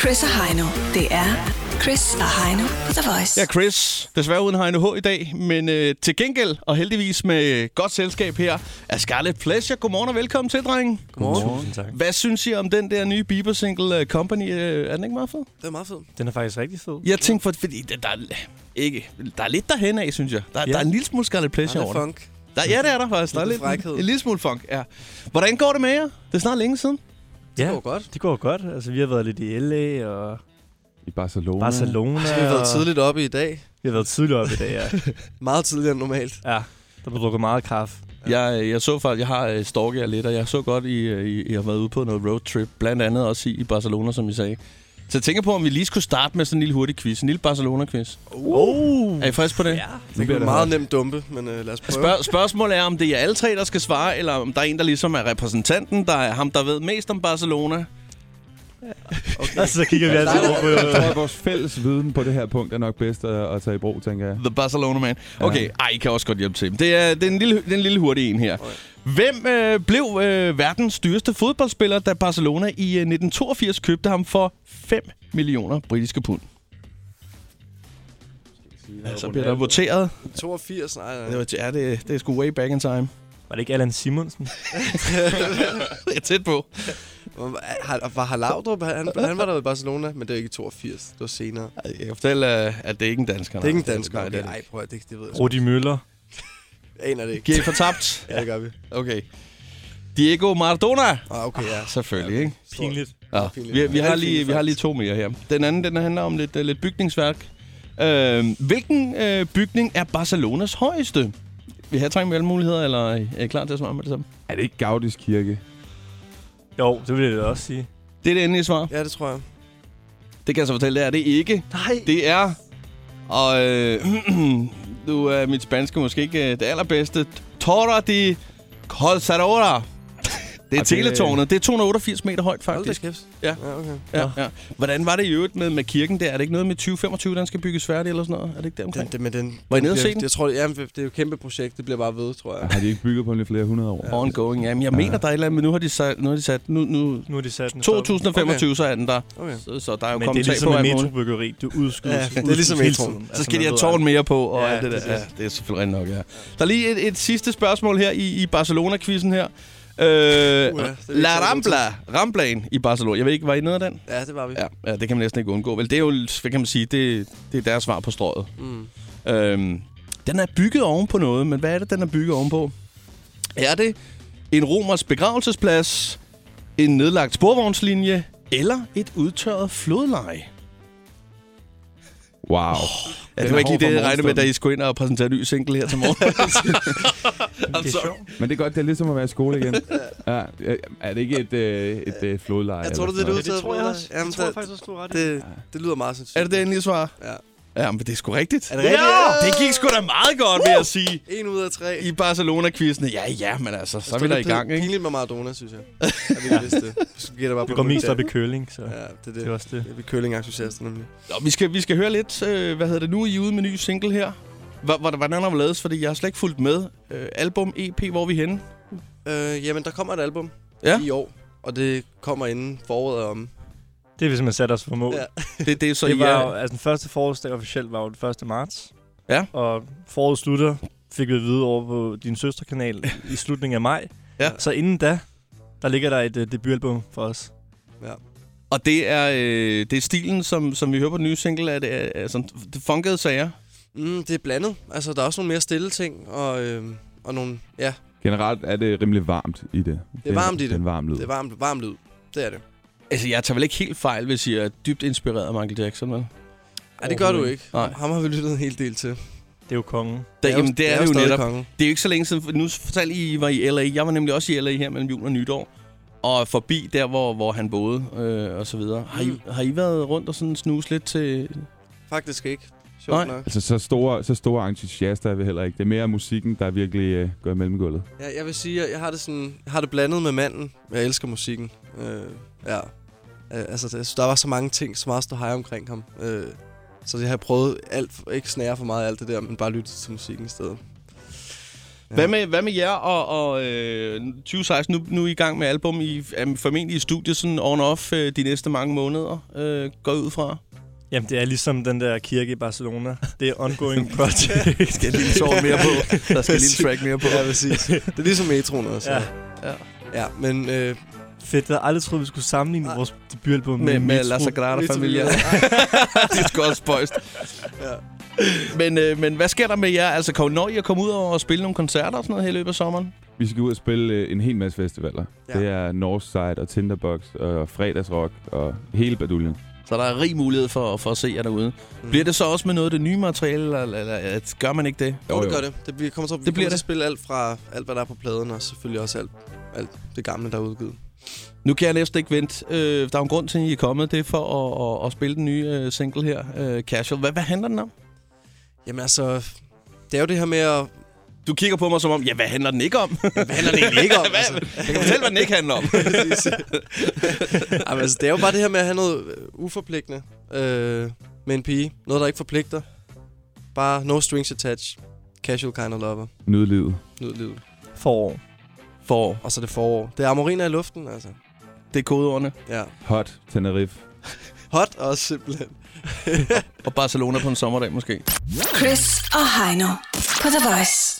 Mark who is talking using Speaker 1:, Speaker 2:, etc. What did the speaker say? Speaker 1: Chris og Heino. Det er Chris og Heino på The Voice.
Speaker 2: Ja, Chris. Desværre uden Heine H. i dag, men øh, til gengæld og heldigvis med øh, godt selskab her, er Scarlett Pleasure. Godmorgen og velkommen til, drengen.
Speaker 3: Godmorgen. Tusind tak.
Speaker 2: Hvad synes I om den der nye Bieber-single øh, Company? Øh, er den ikke meget fed?
Speaker 4: Det er meget fedt.
Speaker 3: Den er faktisk rigtig fed.
Speaker 2: Jeg tænkte, for, fordi der, der, er, ikke, der er lidt derhen af, synes jeg. Der, ja. der er en lille smule Scarlett Pleasure
Speaker 4: Han er
Speaker 2: over den.
Speaker 4: funk.
Speaker 2: Der, ja, det er der faktisk. Der er
Speaker 4: Lidt
Speaker 2: lidt,
Speaker 4: frækhed.
Speaker 2: en lille smule funk, ja. Hvordan går det med jer? Det er snart længe siden.
Speaker 3: Ja,
Speaker 4: Det går godt.
Speaker 3: det går godt. Altså, vi har været lidt i LA og
Speaker 5: I Barcelona.
Speaker 3: Barcelona.
Speaker 4: Så vi har været
Speaker 3: og-
Speaker 4: tidligt oppe i dag.
Speaker 3: Vi har været tidligt op i dag, ja.
Speaker 4: Meget tidligere end normalt.
Speaker 3: ja. Der blev drukket meget kaffe.
Speaker 2: Jeg, øh, jeg så faktisk, jeg har øh, stalket jer lidt, og jeg så godt, I, øh, I, I har været ude på noget roadtrip, blandt andet også i, i Barcelona, som I sagde. Så jeg tænker på, om vi lige skulle starte med sådan en lille hurtig quiz, en lille Barcelona-quiz.
Speaker 3: Uh.
Speaker 2: Er I frisk på det? Ja.
Speaker 4: Det
Speaker 5: bliver
Speaker 4: kan
Speaker 5: det
Speaker 4: meget nemt dumpe, men øh, lad os prøve.
Speaker 2: Spørg- spørgsmålet er, om det er alle tre, der skal svare, eller om der er en, der ligesom er repræsentanten, der er ham, der ved mest om Barcelona.
Speaker 4: Okay.
Speaker 3: Og så kigger vi altid over på...
Speaker 5: Jeg tror, at vores fælles viden på det her punkt er nok bedst at, at tage i brug, tænker jeg.
Speaker 2: The Barcelona Man. Okay, ej, I kan også godt hjælpe til. Det er, det er, en, lille, det er en lille hurtig en her. Hvem øh, blev øh, verdens dyreste fodboldspiller, da Barcelona i øh, 1982 købte ham for 5 millioner britiske pund? Ja,
Speaker 4: Altså,
Speaker 2: så bliver der voteret.
Speaker 4: 82, nej, nej.
Speaker 2: Det var, ja, det, det er sgu way back in time.
Speaker 3: Var det ikke Allan Simonsen?
Speaker 2: Det er tæt på.
Speaker 4: Var, var Halavdrup, han, han var der i Barcelona, men det var ikke i 82. Det var senere.
Speaker 2: Ej, Jeg kan fortælle, øh, at det er ikke en dansker.
Speaker 4: Det er ikke en
Speaker 2: nej.
Speaker 4: dansker.
Speaker 2: Nej, det er
Speaker 4: Okay.
Speaker 2: det
Speaker 4: Ej,
Speaker 2: ikke.
Speaker 4: prøv at det, det ved jeg sgu.
Speaker 3: Rudi Møller.
Speaker 4: Aner det ikke.
Speaker 2: Giver I fortabt?
Speaker 4: Ja, det gør vi.
Speaker 2: Okay. Diego Maradona.
Speaker 4: Ah, okay, ja.
Speaker 2: Selvfølgelig, ikke?
Speaker 3: Pinligt.
Speaker 2: Ja,
Speaker 4: Pinligt.
Speaker 2: vi, vi, har
Speaker 4: Rigtig
Speaker 2: lige, vi har lige to mere her. Den anden, den handler om lidt, øh, lidt bygningsværk. Øh, hvilken øh, bygning er Barcelonas højeste? Vi har trængt med alle muligheder, eller er I klar til at svare med det samme?
Speaker 5: Er det ikke Gaudis kirke?
Speaker 3: Jo, det vil jeg da også sige.
Speaker 2: Det er det endelige svar.
Speaker 4: Ja, det tror jeg.
Speaker 2: Det kan jeg så fortælle, det er det ikke.
Speaker 3: Nej.
Speaker 2: Det er... Og øh, nu er mit spanske måske ikke øh, det allerbedste. Torre de Colsadora. Det er
Speaker 3: det-
Speaker 2: teletårnet. Det er 288 meter højt,
Speaker 4: Hold da
Speaker 2: faktisk.
Speaker 4: kæft.
Speaker 2: Ja.
Speaker 4: ja okay.
Speaker 2: Ja, ja. Hvordan var det i øvrigt med, med kirken der? Er det ikke noget med 2025, den skal bygges færdig eller sådan noget? Er det ikke det omkring?
Speaker 4: Den, den, men den,
Speaker 2: Var I nede at se
Speaker 4: jeg,
Speaker 2: den?
Speaker 4: jeg tror, det, jamen, det er jo et kæmpe projekt. Det bliver bare ved, tror jeg.
Speaker 5: Har de ikke bygget på den i flere hundrede år? Ja.
Speaker 2: Ongoing, ja. Men jeg mener, der er et eller andet, men nu har de sat... Nu har de sat nu, nu,
Speaker 3: Nu er de sat den
Speaker 2: 2025, okay. så er den der.
Speaker 4: Okay.
Speaker 2: Så, så der er jo
Speaker 3: Men det er
Speaker 2: kommet tag
Speaker 3: ligesom
Speaker 2: på
Speaker 3: med
Speaker 2: alt muligt.
Speaker 3: metrobyggeri. Du udskydes.
Speaker 4: Ja, det er
Speaker 3: udskydes
Speaker 4: ligesom
Speaker 3: hele
Speaker 4: metroen.
Speaker 3: tiden.
Speaker 2: Så
Speaker 3: Altså,
Speaker 2: skal
Speaker 3: man
Speaker 2: de have
Speaker 3: ved
Speaker 2: tårn mere på og
Speaker 3: Ja,
Speaker 2: ja, alt det der.
Speaker 3: det er
Speaker 2: Ja,
Speaker 3: det.
Speaker 2: det er selvfølgelig rent nok, ja. Der er lige et, et sidste spørgsmål her i, i Barcelona-quizzen her. Øh,
Speaker 4: Uha, det er ikke
Speaker 2: La
Speaker 4: så god
Speaker 2: Rambla, Ramblaen i Barcelona. Jeg ved ikke, var I nede af den?
Speaker 4: Ja, det var vi.
Speaker 2: Ja, ja, det kan man næsten ikke undgå. Vel, det er jo, hvad kan man sige, det, det er deres svar på strøget.
Speaker 4: Mm.
Speaker 2: Øhm, den er bygget oven på noget, men hvad er det, den er bygget ovenpå? Er det en romers begravelsesplads, en nedlagt sporvognslinje eller et udtørret flodleje?
Speaker 5: Wow.
Speaker 2: Ja, det
Speaker 5: Den
Speaker 2: var
Speaker 5: er
Speaker 2: ikke lige
Speaker 5: hård for
Speaker 2: det, jeg regnede med, da
Speaker 5: morgenstunden.
Speaker 2: I skulle ind og præsentere en ny single her til morgen. I'm sorry.
Speaker 5: Men det er godt, det er ligesom at være i skole igen. ja. øh, Er det ikke et, øh, et øh, flodleje?
Speaker 4: Jeg tror, det
Speaker 5: eller
Speaker 4: er det,
Speaker 5: sådan
Speaker 4: du
Speaker 3: Det
Speaker 5: noget?
Speaker 3: tror jeg også.
Speaker 4: Jamen,
Speaker 3: Det tror jeg
Speaker 4: der-
Speaker 3: faktisk også, du har ret i.
Speaker 4: Det, det lyder meget sindssygt.
Speaker 2: er det det endelige svar?
Speaker 4: Ja.
Speaker 2: Ja, men det er sgu rigtigt.
Speaker 4: Er det rigtigt?
Speaker 2: Ja! Det gik sgu da meget godt, vil jeg sige.
Speaker 4: En ud af tre.
Speaker 2: I Barcelona-quizzen. Ja, ja, men altså, så er vi
Speaker 4: Det
Speaker 2: der
Speaker 4: er
Speaker 2: i
Speaker 4: lidt
Speaker 2: gang, ikke?
Speaker 4: Pinligt med Maradona, synes jeg. At vi ikke vidste det. Så gætter bare
Speaker 3: Vi
Speaker 4: på
Speaker 3: går
Speaker 4: den
Speaker 3: mest
Speaker 4: der.
Speaker 3: op i curling, så
Speaker 4: Ja, det er det.
Speaker 3: det er også det.
Speaker 4: Ja, vi er kølingentusiaster nemlig.
Speaker 2: Nå, vi skal, vi skal høre lidt, øh, hvad hedder det nu, I er ude med ny single her. Hvor- hvor- Hvordan har du lavet, fordi jeg har slet ikke fulgt med. Øh, album, EP, hvor er vi henne?
Speaker 4: Øh, jamen, der kommer et album
Speaker 2: Ja.
Speaker 4: i år, og det kommer inden foråret er om.
Speaker 3: Det er, hvis man sætter os for mål.
Speaker 4: Ja.
Speaker 2: Det, det er så
Speaker 3: det
Speaker 2: I øh,
Speaker 3: var jo,
Speaker 2: er,
Speaker 3: altså den første forårsdag officielt var jo den 1. marts.
Speaker 2: Ja.
Speaker 3: Og foråret slutter, fik vi at vide over på din søsterkanal i slutningen af maj.
Speaker 2: Ja.
Speaker 3: Så inden da, der ligger der et uh, debutalbum for os.
Speaker 2: Og det er, øh, det er stilen, som, som vi hører på den nye single, at det er, er sådan, det funkede sager.
Speaker 4: Mm, det er blandet. Altså, der er også nogle mere stille ting, og, øh, og nogle... Ja,
Speaker 5: Generelt er det rimelig varmt i det. Det
Speaker 4: varmt i det.
Speaker 5: Det er en varm lyd.
Speaker 4: det er varmt, varmt lyd. Det er det.
Speaker 2: Altså, jeg tager vel ikke helt fejl, hvis I er dybt inspireret af Michael Jackson, vel?
Speaker 4: Nej, det gør du
Speaker 3: Overhovedet
Speaker 4: ikke.
Speaker 2: Nej.
Speaker 4: Ham har vi lyttet en hel del til. Det
Speaker 3: Det er jo kongen.
Speaker 2: Da, jamen, det, det er, det jo
Speaker 4: stadig
Speaker 2: netop.
Speaker 4: kongen.
Speaker 2: Det er jo ikke så længe siden. for Nu fortalte I, I var i L.A. Jeg var nemlig også i L.A. her mellem jul og nytår. Og forbi der, hvor, hvor han boede, øh, og så videre. Har I, har I været rundt og sådan snuse lidt til...
Speaker 4: Faktisk ikke.
Speaker 2: Nej.
Speaker 4: Sjovt nok.
Speaker 5: Altså, så store, så store entusiaster er vi heller ikke. Det er mere musikken, der virkelig øh, går i mellemgulvet.
Speaker 4: Ja, jeg vil sige, at jeg har det, sådan, jeg har det blandet med manden. Jeg elsker musikken. Øh, ja. Øh, altså, der, der var så mange ting, så meget stod hej omkring ham. Øh, så jeg har prøvet alt, ikke snære for meget af alt det der, men bare lytte til musikken i stedet.
Speaker 2: Hvad med, hvad med jer og, og øh, 2016? Nu, nu er I i gang med album. I er formentlig i studiet sådan on-off øh, de næste mange måneder. Øh, går jeg ud fra.
Speaker 3: Jamen, det er ligesom den der kirke i Barcelona. Det er ongoing project.
Speaker 4: Skal lige en tår mere på. Der skal lige en track mere på. Ja, præcis. Det er ligesom metroen også.
Speaker 3: Ja.
Speaker 4: ja. ja men øh,
Speaker 3: Fedt, jeg havde aldrig troet, vi skulle sammenligne vores debutalbum
Speaker 2: Med,
Speaker 3: med,
Speaker 2: med
Speaker 3: Metro.
Speaker 2: La Sagrada
Speaker 4: Metro-
Speaker 2: Familia. det er sgu også spøjst.
Speaker 4: Ja.
Speaker 2: Men, øh, men hvad sker der med jer? Altså, kan- når I at komme ud og spille nogle koncerter og sådan noget her i løbet af sommeren?
Speaker 5: Vi skal ud og spille øh, en hel masse festivaler.
Speaker 4: Ja.
Speaker 5: Ja. Det er Northside og Tinderbox og Fredagsrock og hele baduljen.
Speaker 2: Så der er rig mulighed for, for at se jer derude. Mm. Bliver det så også med noget af det nye materiale, eller, eller, eller at- gør man ikke det?
Speaker 4: jo, det gør det. det vi kommer, til, vi
Speaker 2: Det
Speaker 4: det
Speaker 2: bliver
Speaker 4: kommer til
Speaker 2: det.
Speaker 4: at spille alt fra alt, hvad der er på pladen, og selvfølgelig også alt, alt det gamle, der er udgivet.
Speaker 2: Nu kan jeg næsten ikke vente. Øh, der er jo en grund til, at I er kommet. Det er for at, at, at spille den nye øh, single her, øh, Casual. Hvad, hvad handler den om?
Speaker 4: Jamen altså, det er jo det her med at...
Speaker 2: Du kigger på mig som om, ja, hvad handler den ikke om?
Speaker 4: Hvad handler det egentlig ikke om? Altså,
Speaker 2: Hvad? Jeg kan fortælle, hvad den ikke handler om.
Speaker 4: Præcis. Jamen, altså, det er jo bare det her med at have noget øh, uforpligtende øh, med en pige. Noget, der ikke forpligter. Bare no strings attached. Casual kind of lover.
Speaker 5: Nyd livet.
Speaker 4: Nyd livet.
Speaker 3: forår.
Speaker 2: For
Speaker 4: Og så er det forår. Det er amoriner i luften, altså.
Speaker 2: det er kodeordene.
Speaker 4: Ja.
Speaker 5: Hot Tenerife.
Speaker 4: Hot også simpelthen.
Speaker 2: Og Barcelona på en sommerdag måske.
Speaker 1: Chris og Heino på The Voice.